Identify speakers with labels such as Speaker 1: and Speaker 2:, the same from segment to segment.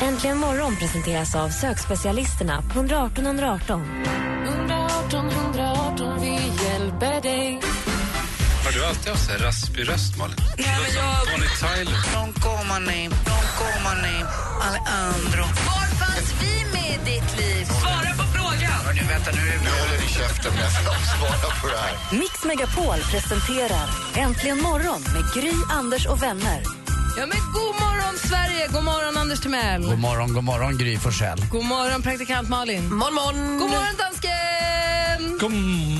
Speaker 1: Äntligen morgon presenteras av sökspecialisterna på 118 118.
Speaker 2: Har du alltid haft så här raspig röst, Malin? Nej, men jag... Bonnie Tyler.
Speaker 3: Non comane, non comane, Alejandro. Var fanns vi med i ditt liv? Svara på frågan! Hörni, vänta nu.
Speaker 4: Nu håller ni käften med ska svara på det här.
Speaker 1: Mix Megapol presenterar Äntligen morgon med Gry, Anders och vänner.
Speaker 5: Ja, men god morgon, Sverige! God morgon, Anders Timell!
Speaker 6: God morgon, god morgon Gry Forssell.
Speaker 5: God morgon, praktikant Malin!
Speaker 7: Morgon, morgon!
Speaker 5: God morgon, dansken!
Speaker 6: God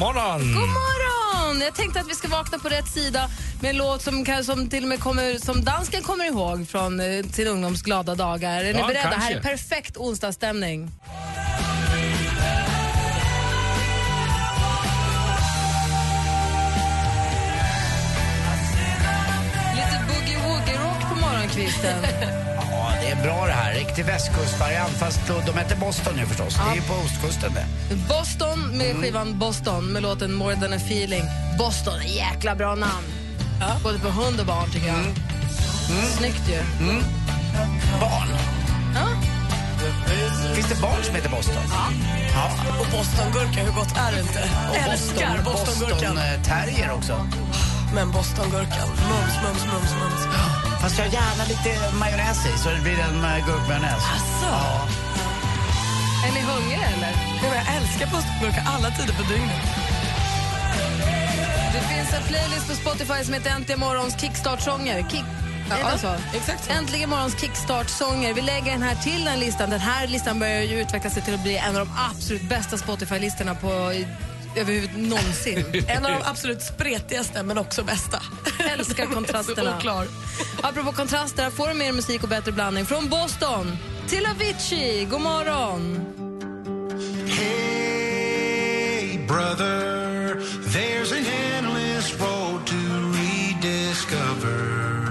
Speaker 6: morgon!
Speaker 5: God morgon! Jag tänkte att vi ska vakna på rätt sida med en låt som, kan, som till och med kommer, som dansken kommer ihåg från eh, sin ungdoms glada dagar. Är ni
Speaker 6: Ja,
Speaker 5: beredda?
Speaker 6: kanske.
Speaker 5: Här är perfekt onsdagsstämning. Lite boogie-woogie-rock på morgonkvisten.
Speaker 6: Ja, det är bra det här. Riktig västkustvariant. Fast då- de heter Boston nu förstås. Det är ju på ostkusten det.
Speaker 5: Boston med skivan Boston med låten More than a feeling. Boston, jäkla bra namn. Både på hund och barn tycker jag. Snyggt ju.
Speaker 6: Barn.
Speaker 5: Ja.
Speaker 6: Finns det barn som heter Boston? Ja.
Speaker 7: Och bostongurka, hur gott är det inte? Älskar bostongurkan.
Speaker 6: Boston eh, terrier också.
Speaker 7: Men bostongurkan, mums, mums, mums, mums.
Speaker 6: Fast jag har gärna lite majonnäs i så det blir en eh, gurkmajonnäs.
Speaker 7: Alltså,
Speaker 5: Är ni hungriga eller?
Speaker 7: nej, men jag älskar bostongurka alla tider på dygnet.
Speaker 5: Det finns en playlist på Spotify som heter Äntligen morgons kickstart-sånger. Kick... Är det så?
Speaker 7: exakt så.
Speaker 5: Äntligen morgons kickstart-sånger. Vi lägger den här till den listan. Den här listan börjar ju utveckla sig till att bli en av de absolut bästa Spotify-listorna på överhuvud någonsin.
Speaker 7: En av de absolut spretigaste, men också bästa.
Speaker 5: Älskar kontrasterna.
Speaker 7: Så oklar.
Speaker 5: Apropå kontraster, här får du mer musik och bättre blandning från Boston till Avicii. God morgon!
Speaker 4: Hey brother, there's an endless road to rediscover.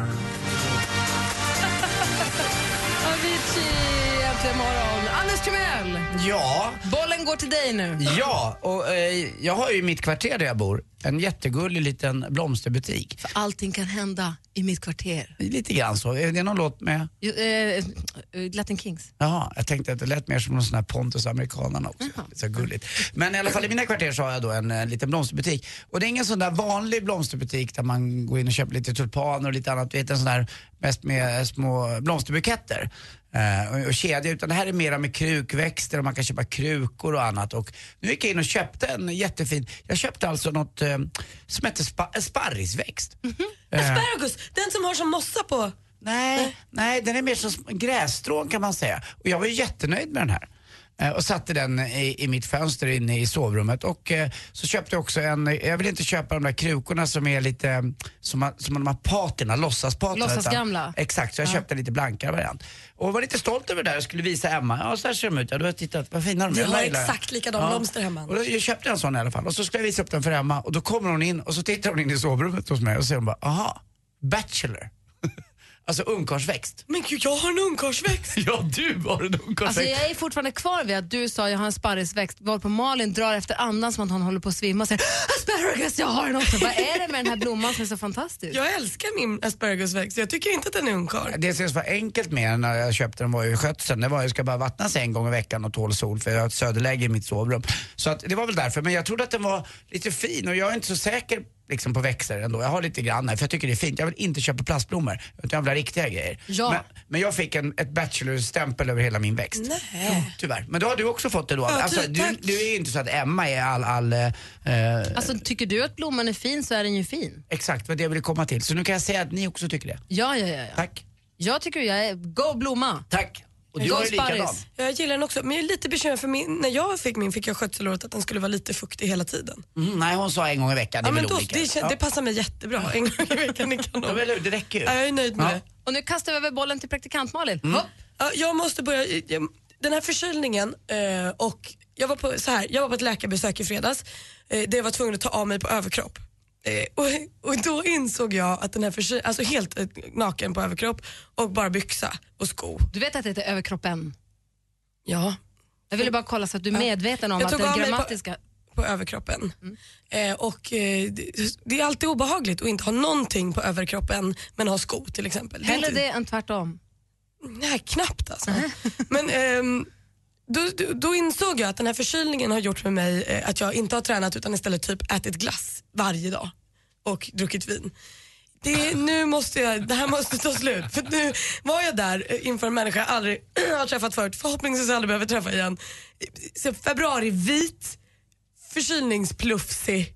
Speaker 5: Avicii, äntligen morgon. Anders Timell,
Speaker 6: Ja.
Speaker 5: bollen går till dig nu.
Speaker 6: Ja, och eh, jag har ju i mitt kvarter där jag bor en jättegullig liten blomsterbutik.
Speaker 5: Allting kan hända i mitt kvarter.
Speaker 6: Lite grann så. Är det någon låt med?
Speaker 5: Jo, eh, eh, Latin Kings.
Speaker 6: Jaha, jag tänkte att det lät mer som någon sån här Pontus amerikanarna också. Så gulligt. Men i alla fall i mina kvarter så har jag då en, eh, liten blomsterbutik. Och det är ingen sån där vanlig blomsterbutik där man går in och köper lite tulpaner och lite annat. Du vet en sån där mest med eh, små blomsterbuketter. eh, och- Och kedja, utan det här är mera med krukväxter och man kan köpa krukor och annat. Och nu gick jag in och köpte en jättefin, jag köpte alltså något eh, som heter spa, eh, sparrisväxt. Eh,
Speaker 7: Asparagus, den som har som mossa på.
Speaker 6: Nej, nej, den är mer som sm- grässtrån kan man säga. Och jag var ju jättenöjd med den här. Eh, Och satte den i, i mitt fönster inne i sovrummet. Och eh, så köpte jag också en, eh, jag vill inte köpa de där krukorna som är lite, eh, som, har- som de här paterna, låtsaspaterna.
Speaker 5: Låtsas
Speaker 6: utan-
Speaker 5: gamla.
Speaker 6: Exakt, så jag köpte en lite blankare variant. Och var lite stolt över det där och skulle visa Emma. Ja, så här ser de ut. Ja, då har jag tittat, vad fina de är.
Speaker 7: Vi
Speaker 6: Jag
Speaker 7: har
Speaker 6: gillar den.
Speaker 7: exakt likadan blomster hemma.
Speaker 6: Och då, jag köpte en sån i alla fall. Och så skulle jag visa upp den för Emma. Och då kommer hon in och så tittar hon in i sovrummet hos mig och säger hon bara, aha, bachelor. Alltså ungkarlsväxt.
Speaker 7: Men gud, jag har en ungkarlsväxt.
Speaker 6: Ja, du har en
Speaker 5: Alltså,
Speaker 6: ungkarlsväxt.
Speaker 5: jag är fortfarande kvar vid att du sa jag har en sparrisväxt varpå Malin drar efter andan som att hon håller på att svimma och säger asparagus, jag har den också. Vad är det med den här blomman som är så fantastisk?
Speaker 7: Jag älskar min asparagusväxt. Jag tycker inte att den är ungkarl.
Speaker 6: Det som var enkelt med den när jag köpte den var ju skötseln. Det var jag ska bara vattnas en gång i veckan och tål sol för jag har ett söderläge i mitt sovrum. Så att, det var väl därför. Men jag trodde att den var lite fin och jag är inte så säker liksom, på växter ändå. Jag har lite grann här för jag tycker det är fint. Jag vill inte köpa plastblommor utan jag vill ha riktiga grejer.
Speaker 5: Ja.
Speaker 6: Men, men jag fick en, ett bachelorstämpel över hela min växt.
Speaker 7: Nej.
Speaker 6: Tyvärr. Men då har du också fått det då.
Speaker 7: Ja,
Speaker 6: alltså,
Speaker 7: ty-
Speaker 6: du,
Speaker 7: tack.
Speaker 6: du är ju inte så att Emma är all... all eh, eh,
Speaker 5: Alltså, tycker du att blomman är fin så är den ju fin.
Speaker 6: exakt vad det jag ville komma till. Så nu kan jag säga att ni också tycker det.
Speaker 5: Ja, ja, ja. ja.
Speaker 6: Tack.
Speaker 5: Jag tycker jag är go blomma.
Speaker 6: Tack. Och du
Speaker 5: Go
Speaker 6: har ju likadan.
Speaker 5: sparris.
Speaker 7: Jag gillar den också, men jag är lite bekymrad för min, när jag fick min fick jag skötselåret att den skulle vara lite fuktig hela tiden.
Speaker 6: Mm, nej, hon sa en gång i veckan. Det
Speaker 7: Ja,
Speaker 6: är
Speaker 7: men
Speaker 6: väl
Speaker 7: då,
Speaker 6: olika.
Speaker 7: det, kän-
Speaker 6: ja.
Speaker 7: det passar mig jättebra en gång i veckan i
Speaker 6: Ja,
Speaker 7: kanon.
Speaker 6: men det räcker ju.
Speaker 7: Ja, jag är nöjd med
Speaker 6: Ja.
Speaker 7: det.
Speaker 5: Och nu kastar vi över bollen
Speaker 7: Mm.
Speaker 5: till praktikant Malin. Hopp.
Speaker 7: Ja, jag måste börja, jag- den här förkylningen eh, och jag var på, så här, jag var på ett läkarbesök i fredags eh, där jag var tvungen att ta av mig på överkropp. Eh, och, och då insåg jag att den här förkyl- alltså helt eh, naken på överkropp och bara byxa och sko.
Speaker 5: Du vet att det heter överkroppen?
Speaker 7: Ja.
Speaker 5: Jag ville bara kolla så att du är
Speaker 7: Ja.
Speaker 5: medveten om
Speaker 7: Jag
Speaker 5: att
Speaker 7: tog
Speaker 5: den
Speaker 7: av mig på-
Speaker 5: grammatiska...
Speaker 7: på överkroppen.
Speaker 5: Mm.
Speaker 7: Eh, och eh, det- det är alltid obehagligt att inte ha någonting på överkroppen men ha sko till exempel. är
Speaker 5: Hellre
Speaker 7: inte-
Speaker 5: det än tvärtom.
Speaker 7: Nej, knappt alltså. Men ehm, då, då- då insåg jag att den här förkylningen har gjort med mig eh, att jag inte har tränat utan istället typ ätit glass varje dag och druckit vin. Det, är- nu måste jag, det här måste ta slut. För nu var jag där eh, inför en människa jag aldrig har träffat förut, förhoppningsvis aldrig behöver träffa igen. Så februari vit, förkylningsplufsig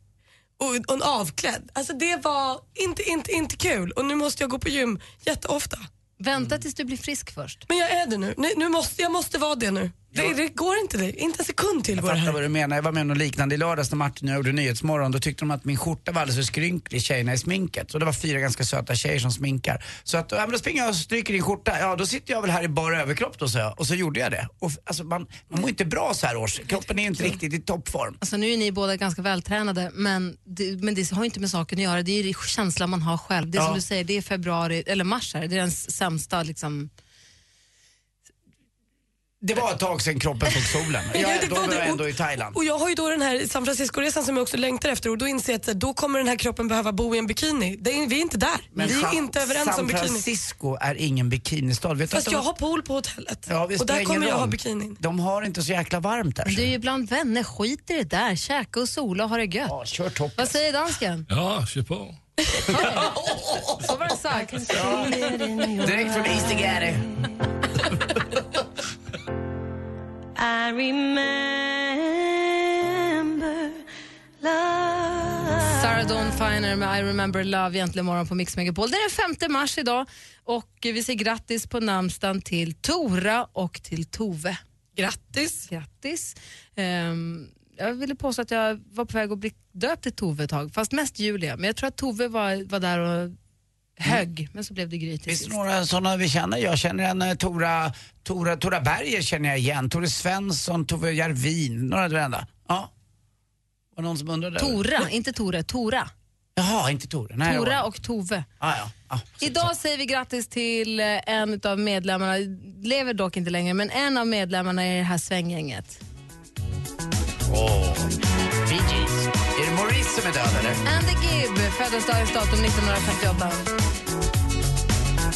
Speaker 7: och, och en avklädd. Alltså det var inte, inte, inte kul och nu måste jag gå på gym jätteofta.
Speaker 5: Vänta tills du blir frisk först.
Speaker 7: Men jag är det nu. nu, nu måste, jag måste vara det nu. Det, det går inte det. Inte en sekund till
Speaker 6: Jag
Speaker 7: går det
Speaker 6: fattar
Speaker 7: här.
Speaker 6: vad du menar. Jag var med om något liknande i lördags när Martin och jag gjorde Nyhetsmorgon. Då tyckte de att min skjorta var alldeles för skrynklig, tjejerna i sminket. Så det var fyra ganska söta tjejer som sminkar. Så att, ja, men då springer jag och stryker din skjorta. Ja, då sitter jag väl här i bara överkropp då, sa jag. Och så gjorde jag det. Och, f- alltså, man, man mår inte bra så här års. Kroppen är ju inte riktigt i toppform.
Speaker 5: Alltså nu är ni båda ganska vältränade men det, men det har ju inte med saken att göra. Det är ju känslan man har själv. Det är
Speaker 6: Ja.
Speaker 5: som du säger, det är februari, eller mars här. Det är den s- sämsta liksom...
Speaker 6: Det var ett tag sedan kroppen såg solen.
Speaker 7: Ja,
Speaker 6: Jag,
Speaker 7: det
Speaker 6: då
Speaker 7: var
Speaker 6: var
Speaker 7: det.
Speaker 6: jag ändå i Thailand.
Speaker 7: Och jag har ju då den här San Francisco-resan som jag också längtar efter och då inser jag att så här, då kommer den här kroppen behöva bo i en bikini. Det är, vi är inte där. vi är
Speaker 6: Sa-
Speaker 7: inte överens om
Speaker 6: San
Speaker 7: bikini.
Speaker 6: Francisco är ingen bikinistad. Vet du
Speaker 7: Fast
Speaker 6: att de-
Speaker 7: jag har pool på hotellet
Speaker 6: Ja, visst,
Speaker 7: och där
Speaker 6: ingen
Speaker 7: kommer jag
Speaker 6: roll.
Speaker 7: ha bikinin.
Speaker 6: De har inte så jäkla varmt där.
Speaker 5: Men Du är ju bland vänner, skit i det där. Käka och sola och ha det gött.
Speaker 6: Ja, kör topp.
Speaker 5: Vad säger dansken?
Speaker 8: Ja, kör på.
Speaker 5: Så var det sagt.
Speaker 6: Direkt från Easy Gary.
Speaker 3: I remember
Speaker 5: Sarah Dawn Finer med I remember love egentligen morgon på Mix Megapol. Det är den 5 mars idag och vi säger grattis på namnsdagen till Tora och till Tove.
Speaker 7: Grattis!
Speaker 5: Grattis. Ehm, jag ville påstå att jag var på väg att bli döpt till Tove ett tag, fast mest Julia. Men jag tror att Tove var, var där och högg, men så blev det Gry till
Speaker 6: Finns det
Speaker 5: sist.
Speaker 6: några sådana vi känner? Jag känner en eh, Tora, Tora, Tora Berger känner jag igen. Tore Svensson, Tove Järvin, några varenda. Ja. Var det någon som undrade?
Speaker 5: Tora, inte Tore, Tora.
Speaker 6: Jaha, inte Tore. Nej, jag
Speaker 5: Tora
Speaker 6: var-
Speaker 5: och Tove.
Speaker 6: Ah, ja. ah,
Speaker 5: Idag säger vi grattis till eh, en av medlemmarna, lever dock inte längre, men en av medlemmarna i det här svänggänget.
Speaker 6: Åh. Bee Gees. Är det Maurice som är död eller?
Speaker 5: Andy Gibb föddes dagens datum 1958.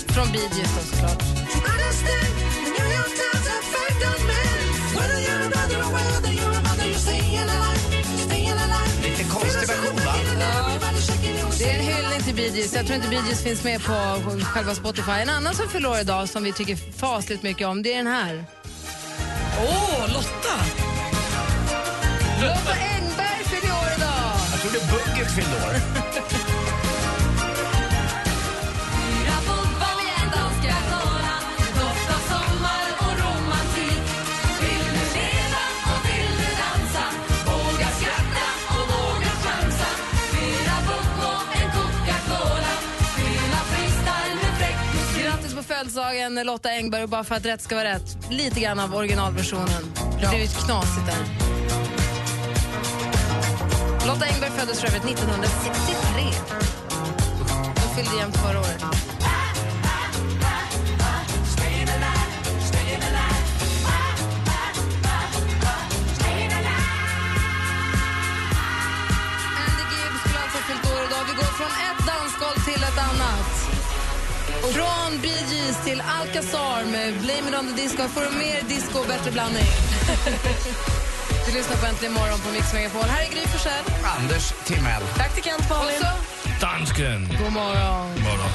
Speaker 5: Från Bee Gees då såklart.
Speaker 6: Lite konstig version va?
Speaker 5: Det är en hyllning till Bee Gees. Jag tror inte Bee Gees finns med på själva Spotify. En annan som förlorar idag som vi tycker fasligt mycket om, det är den här.
Speaker 7: Åh, Lotta!
Speaker 5: Lotta Engberg fyller år idag!
Speaker 6: Jag trodde Bucket fyllde år.
Speaker 5: Grattis på födelsedagen Lotta Engberg och bara för att rätt ska vara rätt, lite grann av originalversionen. Det är ju ett knasigt där. Lotta Engberg föddes för övrigt 1963. Hon fyllde jämnt förra året. Andy Gibb skulle alltså ha fyllt år idag. Vi går från ett dansgolv till ett annat. Från Bee Gees till Alcazar med Blame It On The Disco. Får du mer disco och bättre blandning? du lyssnar på Äntligen Morgon på Mix Megapol. Här är Gry Forssell.
Speaker 6: Anders Timell.
Speaker 7: Praktikant Malin.
Speaker 5: Så,
Speaker 8: Dansken.
Speaker 5: God morgon.
Speaker 8: Morgon.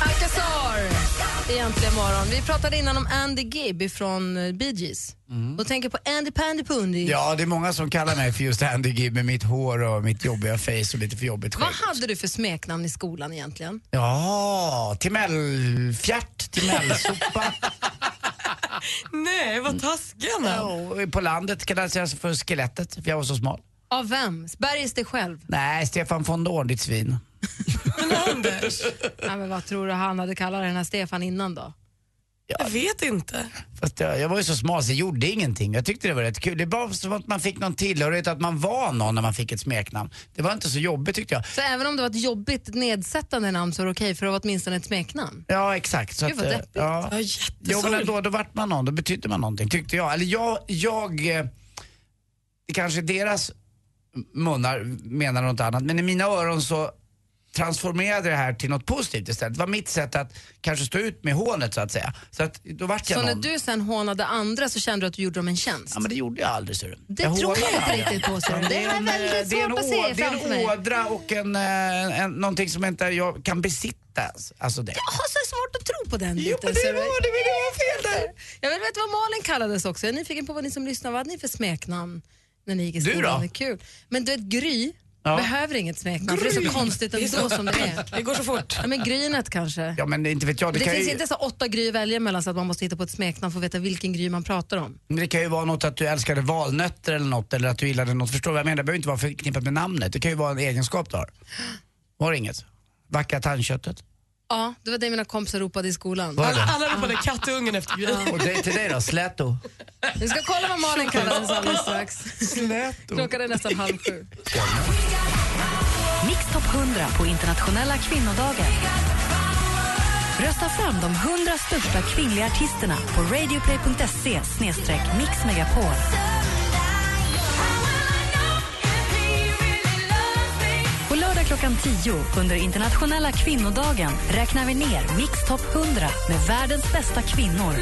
Speaker 5: Alcazar i Äntligen Morgon. Vi pratade innan om Andy Gibb från eh, Bee Gees. Och tänker på Andy Pandy Pundy.
Speaker 6: Ja, det är många som kallar mig för just Andy Gibb med mitt hår och mitt jobbiga face och lite för jobbigt skägg.
Speaker 5: Vad hade du för smeknamn i skolan egentligen?
Speaker 6: Ja, Timellfjärt, Timellsopa.
Speaker 7: Nej, vad taskiga namn.
Speaker 6: Och På landet kallades jag för Skelettet, för jag var så smal.
Speaker 5: Av vem? Bergis dig själv?
Speaker 6: Nej, Stefan von Dorn, ditt svin.
Speaker 9: Ja, men vad tror du han hade kallat den här Stefan innan då?
Speaker 5: Jag vet inte.
Speaker 6: Fast jag, jag var ju så smal så jag gjorde ingenting. Jag tyckte det var rätt kul. Det var som att man fick någon tillhörighet, att man var någon när man fick ett smeknamn. Det var inte så jobbigt tyckte jag.
Speaker 9: Så även om det var ett jobbigt nedsättande namn så var det okej för det var åtminstone ett smeknamn.
Speaker 6: Ja, exakt. Så
Speaker 9: Gud, vad
Speaker 6: eh,
Speaker 9: deppigt.
Speaker 6: Ja,
Speaker 9: Ja,
Speaker 6: ja men ändå, då vart man någon, då betydde man någonting tyckte jag. Eller jag, jag eh, det kanske är deras munnar menar något annat, men i mina öron så transformerade det här till något positivt istället. Det var mitt sätt att kanske stå ut med hånet så att säga. Så att då vart jag
Speaker 9: Så när
Speaker 6: någon.
Speaker 9: du sen hånade andra så kände du att du gjorde dem en tjänst?
Speaker 6: Ja men det gjorde jag aldrig ser du.
Speaker 9: Det tror jag
Speaker 6: hånade
Speaker 9: inte riktigt på
Speaker 6: Ja,
Speaker 9: ser du.
Speaker 6: men
Speaker 9: Det
Speaker 6: är
Speaker 9: är
Speaker 6: en, eh,
Speaker 9: väldigt
Speaker 6: det är en
Speaker 9: svårt att
Speaker 6: å-
Speaker 9: se
Speaker 6: Det är
Speaker 9: framför
Speaker 6: en
Speaker 9: mig.
Speaker 6: ådra och en, eh, en, någonting som inte jag kan besitta. Alltså det.
Speaker 9: Jag har så svårt att tro på den. Jo,
Speaker 6: men det var- det var fel där.
Speaker 9: Jag vill veta vad Malin kallades också. Jag är nyfiken på vad ni som lyssnar, vad hade ni för smeknamn när ni gick i
Speaker 6: Du
Speaker 9: skolan?
Speaker 6: då?
Speaker 9: Det är Kul. Men du vet, Gry
Speaker 6: Ja.
Speaker 9: behöver inget smeknamn för det är
Speaker 6: Gry.
Speaker 9: så konstigt
Speaker 6: Det är
Speaker 9: ändå
Speaker 6: så-
Speaker 9: som det är.
Speaker 5: Det går så fort.
Speaker 9: Ja, men Grynet kanske.
Speaker 6: Ja men inte vet jag.
Speaker 9: Det,
Speaker 6: Det, kan
Speaker 9: finns
Speaker 6: ju,
Speaker 9: inte så åtta Gry att välja mellan så att man måste hitta på ett smeknamn för att veta vilken Gry man pratar om.
Speaker 6: men det kan ju vara något att du älskade valnötter eller något eller att du gillade något. Förstår du vad jag menar? Det behöver inte vara förknippat med namnet. Det kan ju vara en egenskap du har. Var det inget? Vackra tandköttet.
Speaker 9: Ja, det var det mina kompisar ropade i skolan.
Speaker 6: Var det? Alla
Speaker 5: ropade kattungen efter Gry.
Speaker 6: Och det, till dig då? Släto?
Speaker 9: Vi ska kolla vad Malin kallades alldeles strax. Klockan är nästan halv sju.
Speaker 10: Mix Top 100 på internationella kvinnodagen. Rösta fram de 100 största kvinnliga artisterna på radioplay.se mixmegapol. På lördag klockan 10 under internationella kvinnodagen räknar vi ner Mix Top 100 med världens bästa kvinnor.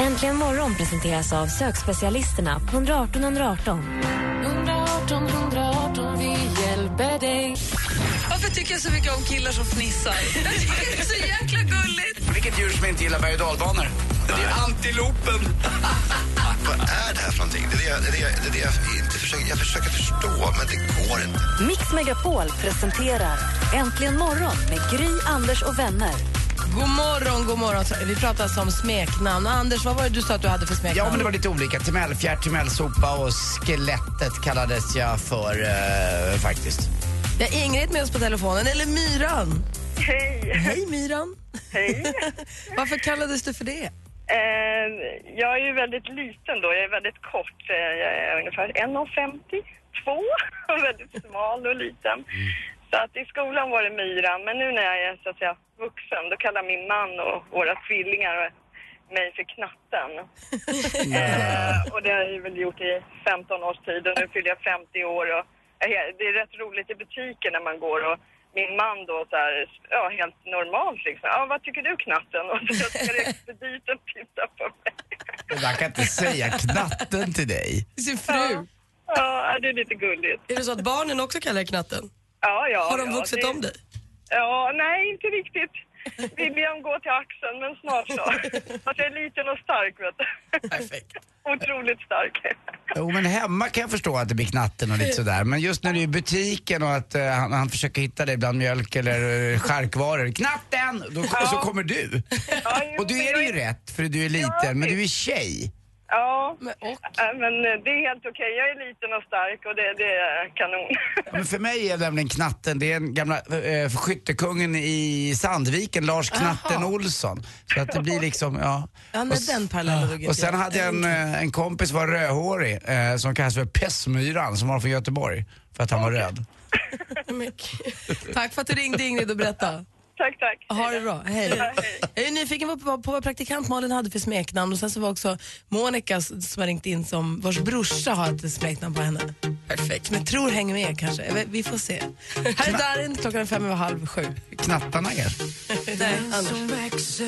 Speaker 11: Äntligen morgon presenteras av sökspecialisterna på 118 118.
Speaker 12: 118 118, vi hjälper dig. Varför tycker jag så mycket om killar som fnissar? Jag tycker det är så jäkla gulligt.
Speaker 6: Vilket djur som inte gillar berg och dalbanor? Det är antilopen.
Speaker 4: Vad är det här för någonting? Det är det, jag- det, är det, jag- det, är det jag, inte försöker, jag försöker förstå, men det går inte.
Speaker 10: Mix Megapol presenterar Äntligen morgon med Gry, Anders och vänner.
Speaker 5: God morgon, god morgon. Vi pratar alltså om smeknamn. Anders, vad var det du sa att du hade för smeknamn?
Speaker 6: Ja, men det var lite olika. Timellfjärt, timellsopa och skelettet kallades jag för eh, faktiskt.
Speaker 5: Vi har Ingrid med oss på telefonen, eller Myran.
Speaker 7: Hej!
Speaker 5: Hej Myran!
Speaker 7: Hej!
Speaker 5: Varför kallades du för det?
Speaker 7: Eh, jag är ju väldigt liten då, jag är väldigt kort. Eh, Jag är ungefär 1,50, två, och väldigt smal och liten. Så att i skolan var det myran, men nu när jag är så att säga, vuxen då kallar min man och våra tvillingar mig för knatten. eh, och det har jag ju väl gjort i 15 års tid och nu fyller jag 50 år. Och, eh, det är rätt roligt i butiken när man går och min man då så här, ja helt normalt liksom. Ja, vad tycker du knatten? Och så ska expediten titta på mig.
Speaker 6: Jag kan inte säga knatten till dig.
Speaker 5: Sin fru.
Speaker 7: Ja, det är lite gulligt.
Speaker 5: Är det så att barnen också kallar dig knatten?
Speaker 7: Ja, ja.
Speaker 5: Har de
Speaker 7: ja,
Speaker 5: vuxit
Speaker 7: det-
Speaker 5: om dig?
Speaker 7: Ja, nej inte riktigt. William går till axeln, men snart så. Att jag är liten och stark vet du.
Speaker 6: Perfekt.
Speaker 7: Otroligt stark.
Speaker 6: Jo, men hemma kan jag förstå att det blir knatten och lite sådär. Men just när du är i butiken och att eh, han, han försöker hitta dig bland mjölk eller eh, charkvaror. Knatten! Då,
Speaker 7: Ja.
Speaker 6: Så kommer du. och du är det ju rätt, för du är liten, men du är tjej.
Speaker 7: Ja, Ja, men eh, det är helt okej. Jag är liten och stark och det, det är kanon.
Speaker 6: Ja, Men för mig är nämligen knatten, det är den gamla eh, skyttekungen i Sandviken, Lars Knatten
Speaker 5: Jaha.
Speaker 6: Olsson. Så att det blir liksom, ja.
Speaker 5: Ja, men
Speaker 6: Och s-
Speaker 5: den parallellen drog inte
Speaker 6: Och sen
Speaker 5: jag.
Speaker 6: hade jag en, eh, en kompis som var rödhårig eh, som kallas för Pessmyran som var från Göteborg för att han var röd.
Speaker 5: Tack för att du ringde Ingrid och berättade.
Speaker 7: Tack, tack.
Speaker 5: Ha det bra, hej. Jag är nyfiken på, på, på vad praktikant Malin hade för smeknamn och sen så var också Monica s- som har ringt in som vars brorsa har ett smeknamn på henne. Perfekt. Men tror hänger med kanske. Jag vet- Vi får se. Här är Darin, klockan är fem över halv sju.
Speaker 6: Knattarna är.
Speaker 5: Nej, Anders.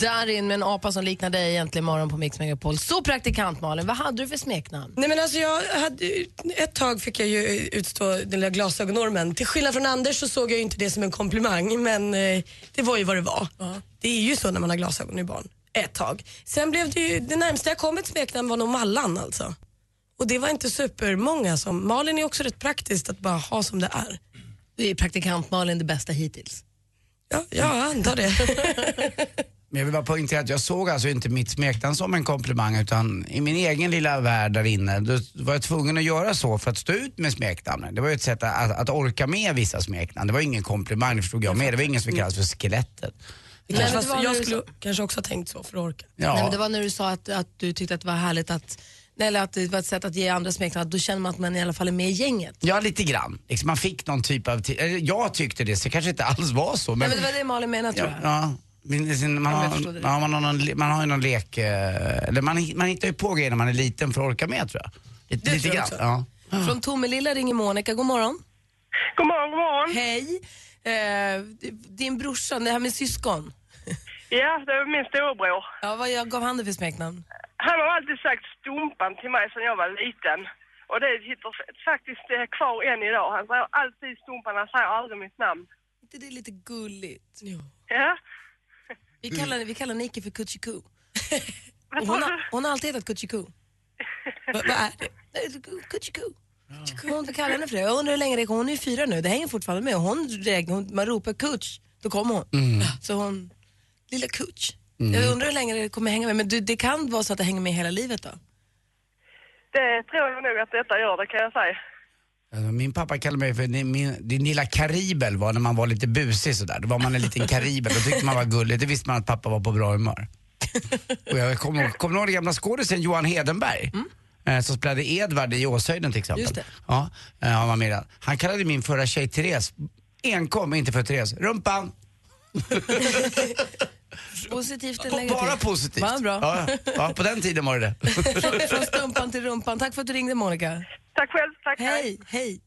Speaker 5: Darin med en apa som liknar dig egentligen morgon på Mix Megapol. Så praktikant Malin, vad hade du för smeknamn?
Speaker 13: Nej men alltså jag hade, ju- ett tag fick jag ju utstå den lilla glasögonormen. Till skillnad från Anders så såg jag ju inte det som en komplimang men eh, det var ju vad det var. Det är ju så när man har glasögon i barn. Ett tag. Sen blev det ju, det närmsta jag kom ett smeknamn var nog Mallan alltså. Och det var inte supermånga som, Malin är också rätt praktiskt att bara ha som det är.
Speaker 5: Du är praktikant Malin det bästa hittills.
Speaker 13: Ja, jag antar det.
Speaker 6: Men jag vill bara poängtera att jag såg alltså inte mitt smeknamn som en komplimang utan i min egen lilla värld där inne då var jag tvungen att göra så för att stå ut med smeknamnen. Det var ju ett sätt att, att orka med vissa smeknamn. Det var ingen komplimang, det förstod jag med. Det var ingen som kallades för skelettet.
Speaker 14: Det kanske var, jag skulle kanske också ha tänkt så för att orka.
Speaker 6: Ja.
Speaker 5: Nej, men det var när du sa att, att du tyckte att det var härligt att, nej, eller att det var ett sätt att ge andra smeknamn, att då känner man att man i alla fall är med i gänget.
Speaker 6: Ja, lite grann. Liksom man fick någon typ av... ti- eller Jag tyckte det, så det kanske inte alls var så.
Speaker 5: Nej,
Speaker 6: Men,
Speaker 5: men det var det Malin menade tror
Speaker 6: ja,
Speaker 5: jag.
Speaker 6: ja. Men sin- Man
Speaker 5: Ja, men jag
Speaker 6: har,
Speaker 5: förstår det.
Speaker 6: ja, man, har någon, le- man har ju någon lek, eh, eller man, man hittar ju på grejer när man är liten för att orka med tror jag. Lite,
Speaker 5: Det
Speaker 6: lite
Speaker 5: tror jag
Speaker 6: grann.
Speaker 5: också.
Speaker 6: Ja.
Speaker 5: Från Tomelilla ringer Monica, god morgon.
Speaker 7: God morgon, god morgon.
Speaker 5: Hej. Eh, din brorsa, det här med syskon.
Speaker 7: Ja, det är min storebror.
Speaker 5: Ja, vad jag gav han det för smeknamn?
Speaker 7: Han har alltid sagt Stumpan till mig sedan jag var liten. Och det sitter faktiskt eh, kvar än idag. Han säger alltid Stumpan, han säger aldrig mitt namn.
Speaker 5: inte det är lite gulligt?
Speaker 7: Ja.
Speaker 5: Vi kallar, vi kallar Niki för Kuchiku. Och hon, har, hon har alltid hetat Kuchiku. Vad vad är det? Kuchiku. Hon kallar henne för det. Jag undrar hur länge det kommer. Hon är ju fyra nu, det hänger fortfarande med. Hon, reg- hon, man ropar Kutch, då kommer hon.
Speaker 6: Mm.
Speaker 5: Så hon, lilla Kutch.
Speaker 7: Mm.
Speaker 5: Jag undrar hur länge det kommer hänga med. Men du, det kan vara så att det hänger med hela livet då?
Speaker 7: Det tror jag nog att detta gör, det kan jag säga.
Speaker 6: Alltså, Min pappa kallade mig för din, min, din lilla karibel var när man var lite busig sådär. Då var man en liten karibel, då tyckte man var gullig. Det visste man att pappa var på bra humör. Och jag kommer ihåg- kommer ni ihåg den gamla skådisen Johan Hedenberg? Eh, Som spelade Edvard i Åshöjden till exempel.
Speaker 5: Mm. Just det.
Speaker 6: Ja, eh, han var med i den. Han kallade min förra tjej Therese, enkom, inte för Therese, rumpan.
Speaker 5: Positivt eller
Speaker 6: På-
Speaker 5: negativt?
Speaker 6: Bara positivt.
Speaker 5: Vad bra.
Speaker 6: Ja, ja, på den tiden var det det.
Speaker 5: Från- Från stumpan till rumpan. Tack för att du ringde Monica.
Speaker 7: Tack själv. Tack,
Speaker 5: hej. hej.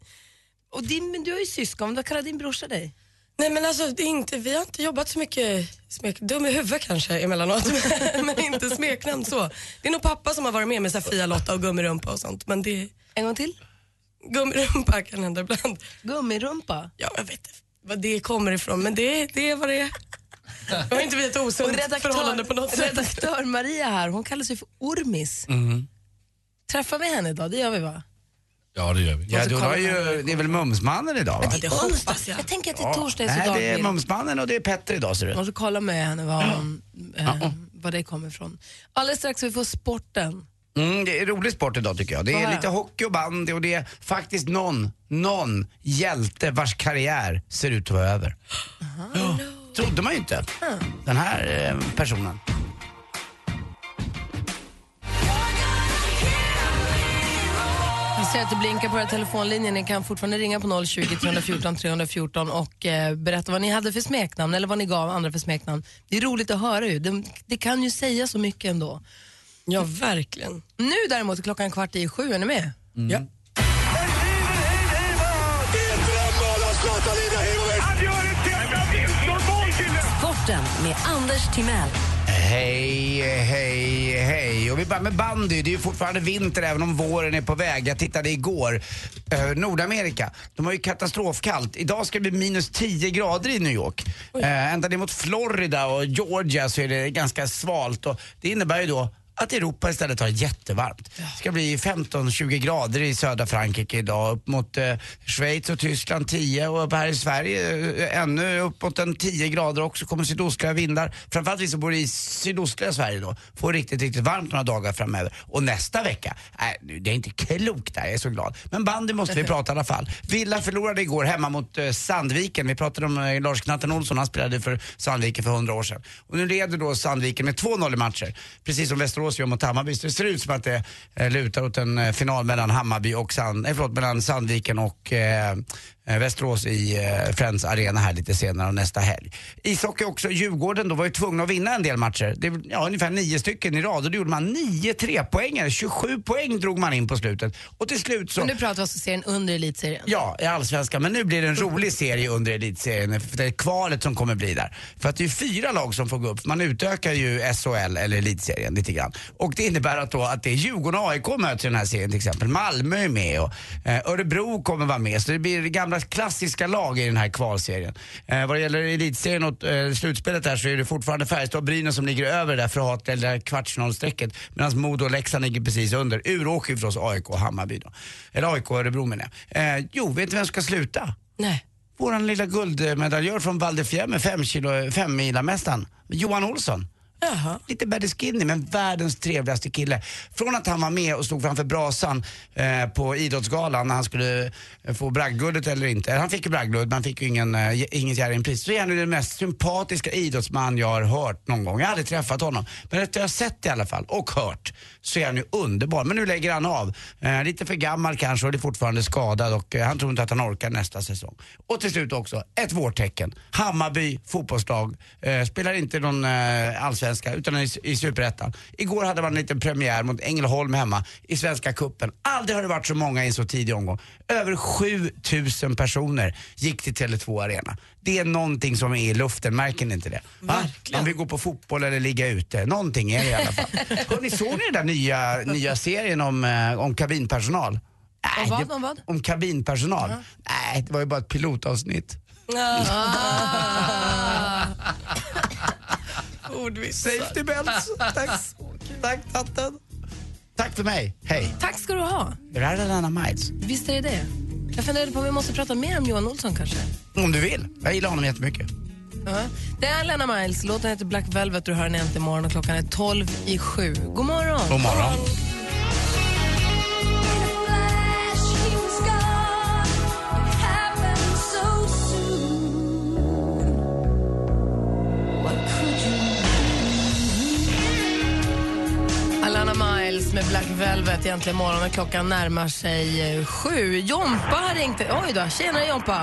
Speaker 5: Och din, men du har ju syskon, vad kallar din brorsa dig?
Speaker 14: Nej men alltså det är inte, vi har inte jobbat så mycket smek, dum i huvudet kanske emellanåt men inte smeknamn så. Det är nog pappa som har varit med med så här Fia-Lotta och gummirumpa och sånt men det...
Speaker 5: En gång till?
Speaker 14: Gummirumpa kan hända ibland.
Speaker 5: Gummirumpa?
Speaker 14: Ja jag vet inte vad det kommer ifrån men det, det är vad det är. Jag har inte vi ett
Speaker 5: Och
Speaker 14: osunt förhållande på något sätt.
Speaker 5: redaktör Maria här, hon kallar sig för Ormis. Träffar vi henne idag? Det gör vi va?
Speaker 6: Ja, det gör vi. Ja,
Speaker 5: Och så
Speaker 6: då
Speaker 5: kollar
Speaker 6: har ju, det är väl Mumsmannen idag va?
Speaker 5: det hoppas jag. Jag tänker att det är torsdag i
Speaker 6: Nej,
Speaker 5: så
Speaker 6: det är
Speaker 5: dagbild.
Speaker 6: Mumsmannen och det är Petter idag ser du.
Speaker 5: Man måste kolla med henne vad, hon, eh, vad det kommer ifrån. Alldeles strax ska vi få sporten.
Speaker 6: Mm, det är rolig sport idag tycker jag. Det
Speaker 5: Vad
Speaker 6: är
Speaker 5: är
Speaker 6: lite
Speaker 5: det?
Speaker 6: hockey och bandy och det är faktiskt någon, någon hjälte vars karriär ser ut att vara över. Ja, Trodde man ju inte. Den här eh, personen.
Speaker 5: Vi ser att det blinkar på era telefonlinjer. Ni kan fortfarande ringa på 020 314 314 och eh, berätta vad ni hade för smeknamn eller vad ni gav andra för smeknamn. Det är roligt att höra ju. Det, det kan ju säga så mycket ändå.
Speaker 14: Ja, verkligen.
Speaker 5: Nu däremot är klockan kvart i sju. Är ni med?
Speaker 6: Ja.
Speaker 10: Sporten med Anders Timell.
Speaker 6: Hej, hej, hej. Och vi börjar med bandy. Det är ju fortfarande vinter även om våren är på väg. Jag tittade igår. Eh, Nordamerika, de har ju katastrofkallt. Idag ska det bli minus 10 grader i New York. Eh, ända ner mot Florida och Georgia så är det ganska svalt. Och det innebär ju då att Europa istället har jättevarmt. Det ska bli 15-20 grader i södra Frankrike idag. Upp mot eh, Schweiz och Tyskland 10 och upp här i Sverige eh, ännu uppåt en 10 grader också. Kommer sydostliga vindar. Framförallt vi som bor i sydostliga Sverige då. Får riktigt, riktigt varmt några dagar framöver. Och nästa vecka, nej, nu, det är inte klokt där. Jag är så glad. Men bandy måste vi prata i alla fall. Villa förlorade igår hemma mot eh, Sandviken. Vi pratade om eh, Lars Knatten Olsson. Han spelade för Sandviken för 100 år sedan. Och nu leder då Sandviken med 2-0 i matcher. Precis som Västerås gör mot Hammarby. Så det ser ut som att det eh, lutar åt en eh, final mellan Hammarby och Sand, eh, förlåt, mellan Sandviken och eh, eh, Västerås i eh, Friends Arena här lite senare och nästa helg. Ishockey också, Djurgården då var ju tvungna att vinna en del matcher. Det, är väl, ja, ungefär nio stycken i rad och då gjorde man nio trepoängare. 27 poäng drog man in på slutet. Och till slut så...
Speaker 5: Men nu pratar vi alltså serien under elitserien.
Speaker 6: Ja, i Allsvenskan. Men nu blir det en rolig serie under elitserien. För det är kvalet som kommer bli där. För att det är fyra lag som får gå upp. Man utökar ju SHL, eller elitserien, lite grann. Och det innebär att, då att det är Djurgården och AIK möts i den här serien till exempel. Malmö är med och eh, Örebro kommer vara med. Så det blir gamla klassiska lag i den här kvalserien. Eh, vad det gäller elitserien och eh, slutspelet där så är det fortfarande Färjestad och Brynäs som ligger över det där förhatliga lilla kvartsfinalstrecket. Medan Modo och Leksand ligger precis under. Uråker ju förstås AIK och Hammarby då. Eller AIK och Örebro menar jag. Eh, jo, vet du vem som ska sluta?
Speaker 5: Nej.
Speaker 6: Våran lilla guldmedaljör från Val de Fiemme, fem, kilo, fem Johan Olsson. Lite Baddy Skinny, men världens trevligaste kille. Från att han var med och stod framför brasan eh, på Idrottsgalan när han skulle eh, få Bragdguldet eller inte. Han fick ju Bragdguldet, men han fick ju ingen, eh, ge- inget Jerringpris. Så är han ju den mest sympatiska idrottsman jag har hört någon gång. Jag har aldrig träffat honom, men efter jag har sett i alla fall och hört så är han ju underbar. Men nu lägger han av. Eh, lite för gammal kanske och det är fortfarande skadad och eh, han tror inte att han orkar nästa säsong. Och till slut också, ett vårtecken. Hammarby fotbollslag eh, spelar inte någon eh, allsvenska utan i, i superettan. Igår hade man en liten premiär mot Ängelholm hemma i Svenska Kuppen. Aldrig har det varit så många i en så tidig omgång. Över 7000 personer gick till Tele2 Arena. Det är någonting som är i luften, märker ni inte det? Va? Man vill gå på fotboll eller ligga ute. Någonting är det i alla fall. Hörrni, såg ni den där nya, nya serien om, eh, om kabinpersonal? Nej,
Speaker 5: vad,
Speaker 6: det-
Speaker 5: om vad?
Speaker 6: om kabinpersonal? Nej, det var ju bara ett pilotavsnitt.
Speaker 5: Ah. Ordvitsar.
Speaker 6: Safety belts. Tack, tack tatten. Tack för mig. Hej.
Speaker 5: Tack ska du ha.
Speaker 6: Det här är Lena Miles.
Speaker 5: Visst är det det. Jag funderade på om vi måste prata mer om Johan Olsson kanske.
Speaker 6: Om du vill. Jag gillar honom jättemycket.
Speaker 5: Ja. Det är Lena Miles. Låten heter Black Velvet. Du hör den äntligen imorgon och klockan är 12 i sju. God morgon.
Speaker 6: God morgon.
Speaker 5: Alana Miles med Black Velvet egentligen imorgon och klockan närmar sig eh, sju. Jompa har ringt. Oj då, tjena Jompa.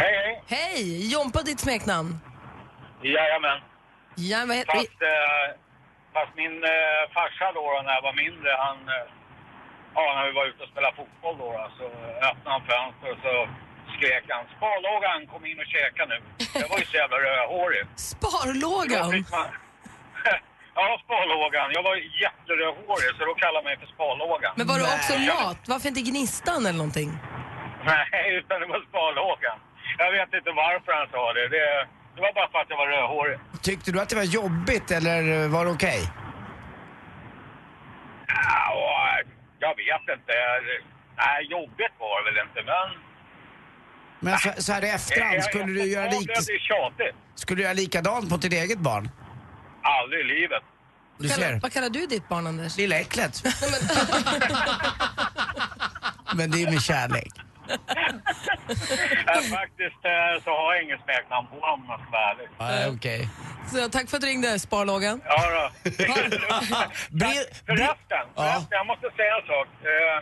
Speaker 7: Hej, hej.
Speaker 5: Hej, Jompa ditt smeknamn.
Speaker 7: Jajamän.
Speaker 5: Ja, vad heter
Speaker 7: Fast, eh, fast min eh, farsa då, då, när jag var mindre, han... Eh, ja, när vi var ute och spelade fotboll då, då så eh, öppnade han fönstret och så skrek han Sparlågan, kom in och käka nu. Jag var ju så jävla rödhårig. Då
Speaker 5: Sparlågan?
Speaker 7: fick man- ja, Sparlågan. Jag var ju jätterödhårig, så då kallade man mig för Sparlågan.
Speaker 5: Men var du också
Speaker 7: Nej.
Speaker 5: lat? Varför inte Gnistan eller någonting?
Speaker 7: Nej, utan det var Sparlågan. Jag vet inte varför han sa det. Det, det var bara för att jag var rödhårig.
Speaker 6: Tyckte du att det var jobbigt eller eh, var det okej?
Speaker 7: Ja, jag vet inte. Nej, jobbigt var det väl inte, men...
Speaker 6: Men så, så här i efterhand, skulle du, göra
Speaker 7: lik...
Speaker 6: lik,
Speaker 7: Det är tjatigt.
Speaker 6: skulle du göra likadant mot ditt eget barn?
Speaker 7: Aldrig i livet.
Speaker 6: Du ser.
Speaker 5: Vad kallar du ditt barn, Anders?
Speaker 6: Lilla äcklet. Men det är med kärlek.
Speaker 7: Nej, faktiskt eh, så har jag inget smeknamn på honom, om jag ska vara ärlig.
Speaker 6: Nej, okej.
Speaker 5: Så, tack för att du ringde, Sparlågan.
Speaker 7: Ja, då. Förresten, förresten, jag måste säga en sak. Eh,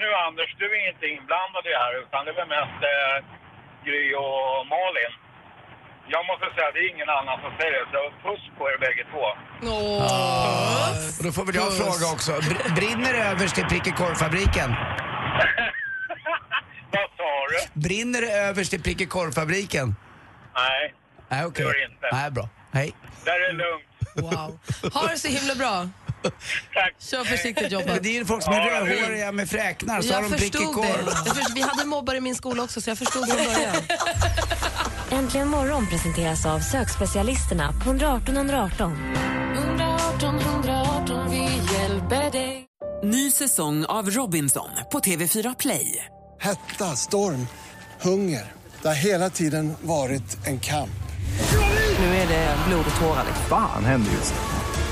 Speaker 7: nu, Anders, du är inte inblandad i det här, utan det är väl mest eh, Gry och Malin. Jag måste säga, det är ingen annan som säger det, så puss på er bägge två.
Speaker 6: Ah, och då får väl jag
Speaker 7: Puss.
Speaker 6: fråga också. Br- Brinner det överst i prick i korvfabriken?
Speaker 7: Vad sa du?
Speaker 6: Brinner det överst i prick i korvfabriken?
Speaker 7: Nej,
Speaker 6: Nej, okej.
Speaker 7: Det gör det inte.
Speaker 6: Nej, bra. Hej.
Speaker 7: där är det lugnt.
Speaker 5: Wow. Ha det så himla bra.
Speaker 7: Tack.
Speaker 5: Kör försiktigt, Jobba.
Speaker 6: Men det är ju folk som är rödhåriga med fräknar, så
Speaker 5: jag
Speaker 6: har de prick i
Speaker 5: förstod det.
Speaker 6: korv.
Speaker 5: Jag förstod- Vi hade mobbar i min skola också, så jag förstod från början.
Speaker 10: Äntligen morgon presenteras av sökspecialisterna på 118 118.
Speaker 15: 118 118, vi hjälper dig.
Speaker 14: Ny säsong av Robinson på TV4 Play.
Speaker 16: Hetta, storm, hunger. Det har hela tiden varit en kamp.
Speaker 14: Nu är det blod och tårar.
Speaker 17: Fan händer just det.